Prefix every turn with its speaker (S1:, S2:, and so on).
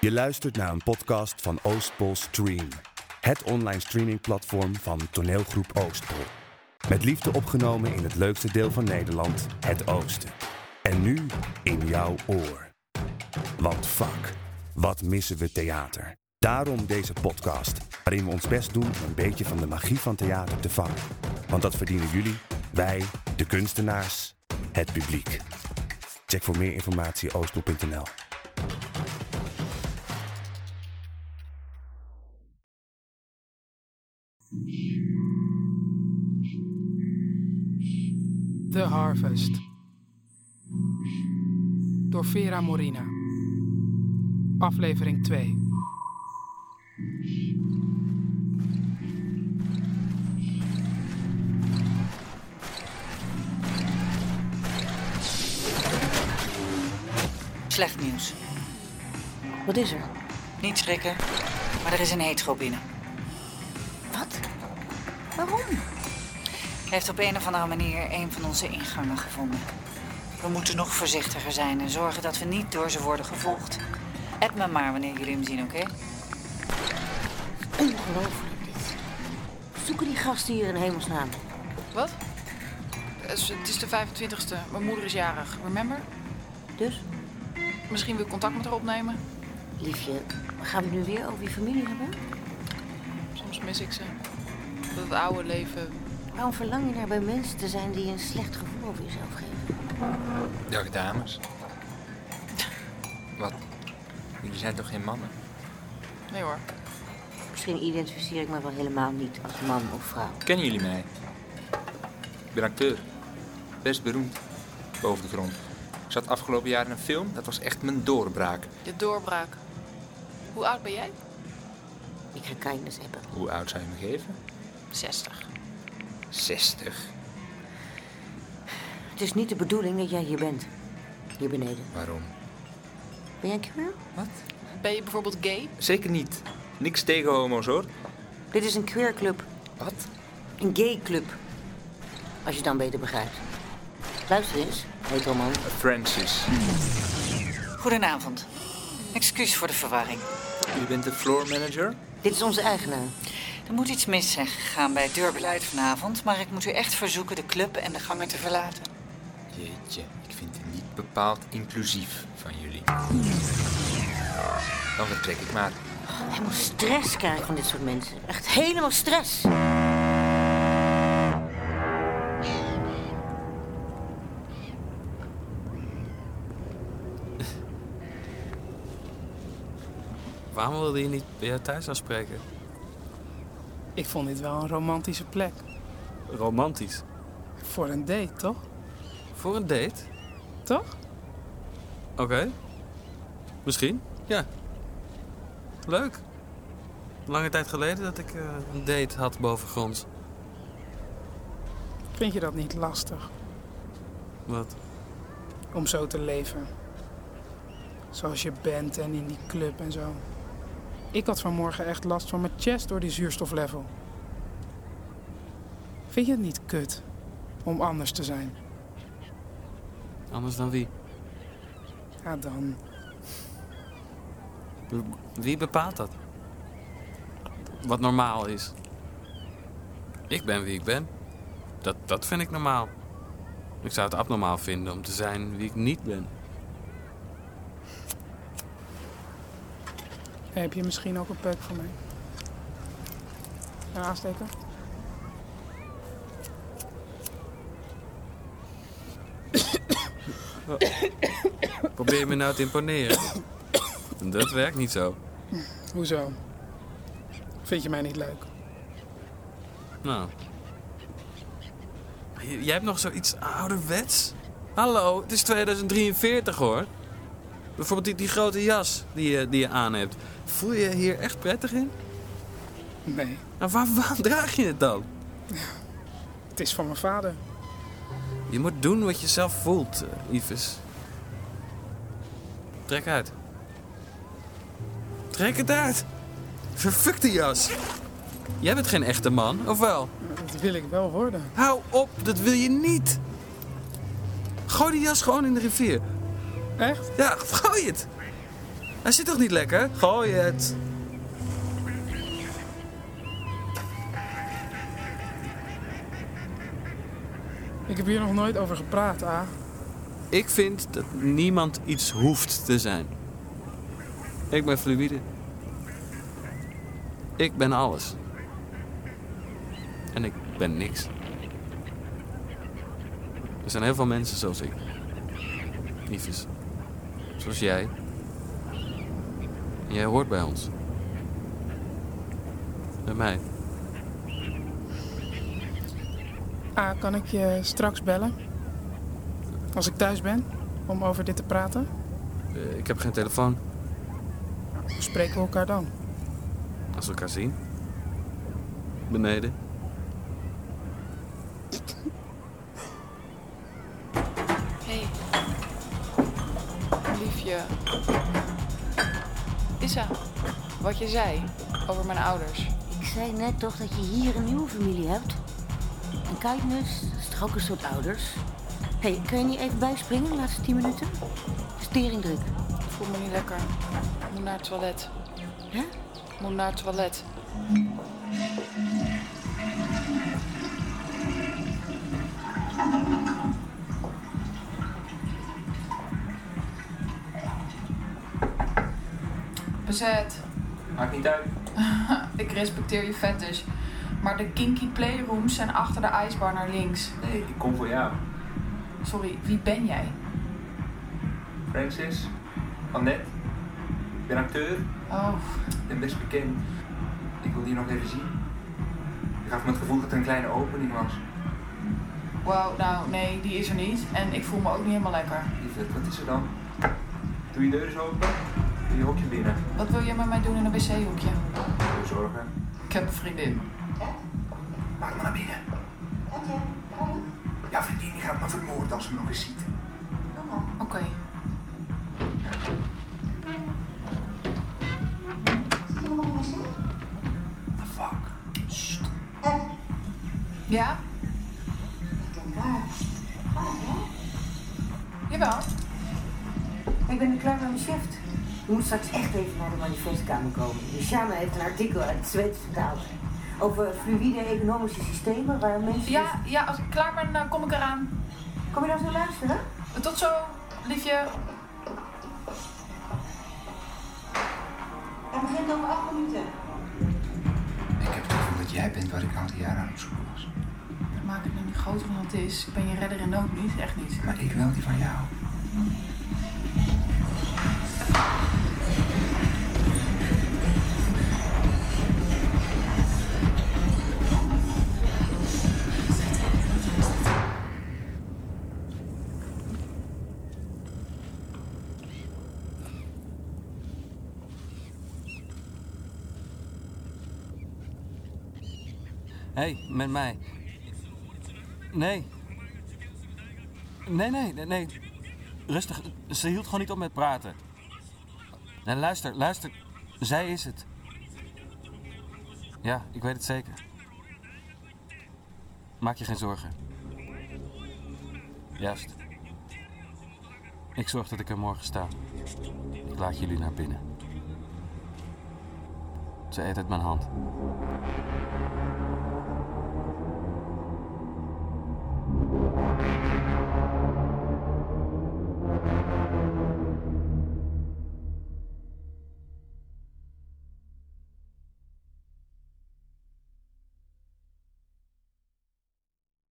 S1: Je luistert naar een podcast van Oostpol Stream. Het online streamingplatform van toneelgroep Oostpol. Met liefde opgenomen in het leukste deel van Nederland, het Oosten. En nu in jouw oor. Want fuck, wat missen we theater. Daarom deze podcast, waarin we ons best doen om een beetje van de magie van theater te vangen. Want dat verdienen jullie, wij, de kunstenaars, het publiek. Check voor meer informatie oostpol.nl.
S2: The Harvest. Door Vera Morina. Aflevering 2.
S3: Slecht nieuws.
S4: Wat is er?
S3: Niet schrikken, maar er is een heetschop binnen.
S4: Wat? Waarom?
S3: Hij heeft op een of andere manier een van onze ingangen gevonden. We moeten nog voorzichtiger zijn en zorgen dat we niet door ze worden gevolgd. App me maar wanneer jullie hem zien, oké?
S4: Ongelooflijk dit. Zoeken die gasten hier in hemelsnaam?
S5: Wat? Het is- Het is de 25e. Mijn moeder is jarig. Remember?
S4: Dus,
S5: Misschien wil ik contact met haar opnemen.
S4: liefje, gaan we het nu weer over je familie hebben?
S5: Soms mis ik ze. Dat oude leven.
S4: Waarom verlang je naar bij mensen te zijn die je een slecht gevoel over jezelf geven?
S6: Dag dames. Wat? Jullie zijn toch geen mannen?
S5: Nee hoor.
S4: Misschien identificeer ik me wel helemaal niet als man of vrouw.
S6: Kennen jullie mij? Ik ben acteur. Best beroemd. Boven de grond. Ik zat afgelopen jaar in een film, dat was echt mijn doorbraak.
S5: Je doorbraak. Hoe oud ben jij?
S4: Ik ga kindness hebben.
S6: Hoe oud zou je me geven?
S5: 60.
S6: 60.
S4: Het is niet de bedoeling dat jij hier bent. Hier beneden.
S6: Waarom?
S4: Ben jij queer?
S6: Wat?
S5: Ben je bijvoorbeeld gay?
S6: Zeker niet. Niks tegen homo's hoor.
S4: Dit is een queer club.
S6: Wat?
S4: Een gay club. Als je het dan beter begrijpt. Luister eens, heet man.
S6: Francis.
S3: Goedenavond. Excuus voor de verwarring.
S6: U bent de floor manager?
S4: Dit is onze eigenaar.
S3: Er moet iets mis zijn gegaan bij het deurbeleid vanavond, maar ik moet u echt verzoeken de club en de gangen te verlaten.
S6: Jeetje, ik vind het niet bepaald inclusief van jullie. Dan vertrek ik maar.
S4: Hij moet stress krijgen van dit soort mensen. Echt helemaal stress.
S7: Waarom wilde je niet bij jou thuis afspreken?
S2: Ik vond dit wel een romantische plek.
S7: Romantisch.
S2: Voor een date, toch?
S7: Voor een date?
S2: Toch?
S7: Oké. Misschien? Ja. Leuk. Lange tijd geleden dat ik eh, een date had bovengronds.
S2: Vind je dat niet lastig
S7: Wat?
S2: om zo te leven? Zoals je bent en in die club en zo. Ik had vanmorgen echt last van mijn chest door die zuurstoflevel. Vind je het niet kut om anders te zijn?
S7: Anders dan wie?
S2: Ja, dan.
S7: Wie bepaalt dat? Wat normaal is. Ik ben wie ik ben. Dat, dat vind ik normaal. Ik zou het abnormaal vinden om te zijn wie ik niet ben.
S2: Heb je misschien ook een puk voor mij? Een aansteker?
S7: Probeer je me nou te imponeren. Dat werkt niet zo.
S2: Hoezo? Vind je mij niet leuk?
S7: Nou. J- Jij hebt nog zoiets ouderwets? Hallo, het is 2043 hoor. Bijvoorbeeld die, die grote jas die je, die je aan hebt. Voel je je hier echt prettig in?
S2: Nee,
S7: Nou, waar, waar draag je het dan?
S2: het is van mijn vader.
S7: Je moet doen wat je zelf voelt, eh, Ives. Trek uit. Trek het uit! Vervukte jas! Jij bent geen echte man, of wel?
S2: Dat wil ik wel worden.
S7: Hou op, dat wil je niet. Gooi die jas gewoon in de rivier.
S2: Echt?
S7: Ja, gooi het.
S8: Hij zit toch niet lekker? Gooi het.
S2: Ik heb hier nog nooit over gepraat, A.
S7: Ik vind dat niemand iets hoeft te zijn. Ik ben fluïde. Ik ben alles. En ik ben niks. Er zijn heel veel mensen zoals ik. Liefjes. Zoals jij. En jij hoort bij ons. Bij mij.
S2: A, Ah, kan ik je straks bellen? Als ik thuis ben, om over dit te praten?
S7: Eh, Ik heb geen telefoon.
S2: Hoe spreken we elkaar dan?
S7: Als we elkaar zien. Beneden.
S5: Hé. Liefje. Issa, wat je zei over mijn ouders.
S4: Ik zei net toch dat je hier een nieuwe familie hebt? En kijk nu, eens, dat is toch ook een soort ouders? Hé, hey, kan je niet even bijspringen de laatste tien minuten? Steringdruk.
S5: Ik voel me niet lekker. Ik moet naar het toilet.
S4: Hè?
S5: Ik moet naar het toilet. Bezet,
S6: Maakt niet uit.
S5: ik respecteer je fetish. Maar de kinky playrooms zijn achter de ijsbar naar links.
S6: Nee, ik kom voor jou.
S5: Sorry, wie ben jij?
S6: Francis, Annette, ik ben acteur
S5: Oh,
S6: en best bekend. Ik wilde je nog even zien. Ik gaf me het gevoel dat er een kleine opening was.
S5: wauw, nou nee, die is er niet. En ik voel me ook niet helemaal lekker.
S6: Lieverd, wat is er dan? Doe je deur eens open, doe je hokje binnen.
S5: Wat wil jij met mij doen in een wc-hoekje?
S6: Doe je zorgen.
S5: Ik heb een vriendin.
S6: Maak maar naar binnen. Ja, vriendin, die gaat me vermoorden als ze me nog eens ziet.
S5: Oké.
S6: The fuck?
S5: Ja? Jawel.
S4: Ik ben er klaar met mijn shift. Je moet straks echt even naar de manifestkamer komen. Shana heeft een artikel uit het Zweeds vertaald. Over fluïde economische systemen waar mensen...
S5: Ja, ja, als ik klaar ben, dan kom ik eraan.
S4: Kom je daar zo luisteren?
S5: Tot zo, liefje.
S4: Hij begint over acht minuten.
S6: Ik heb het gevoel dat jij bent waar ik al die jaren aan op zoek was.
S5: Maak het nou niet groter dan het is. Ik ben je redder in nood niet, echt niet.
S6: Maar ik wel die van jou.
S9: Hé, met mij. Nee. Nee, nee, nee, nee. Rustig, ze hield gewoon niet op met praten. Nee, luister, luister. Zij is het. Ja, ik weet het zeker. Maak je geen zorgen. Juist. Ik zorg dat ik er morgen sta. Ik laat jullie naar binnen. Ze eet uit mijn hand.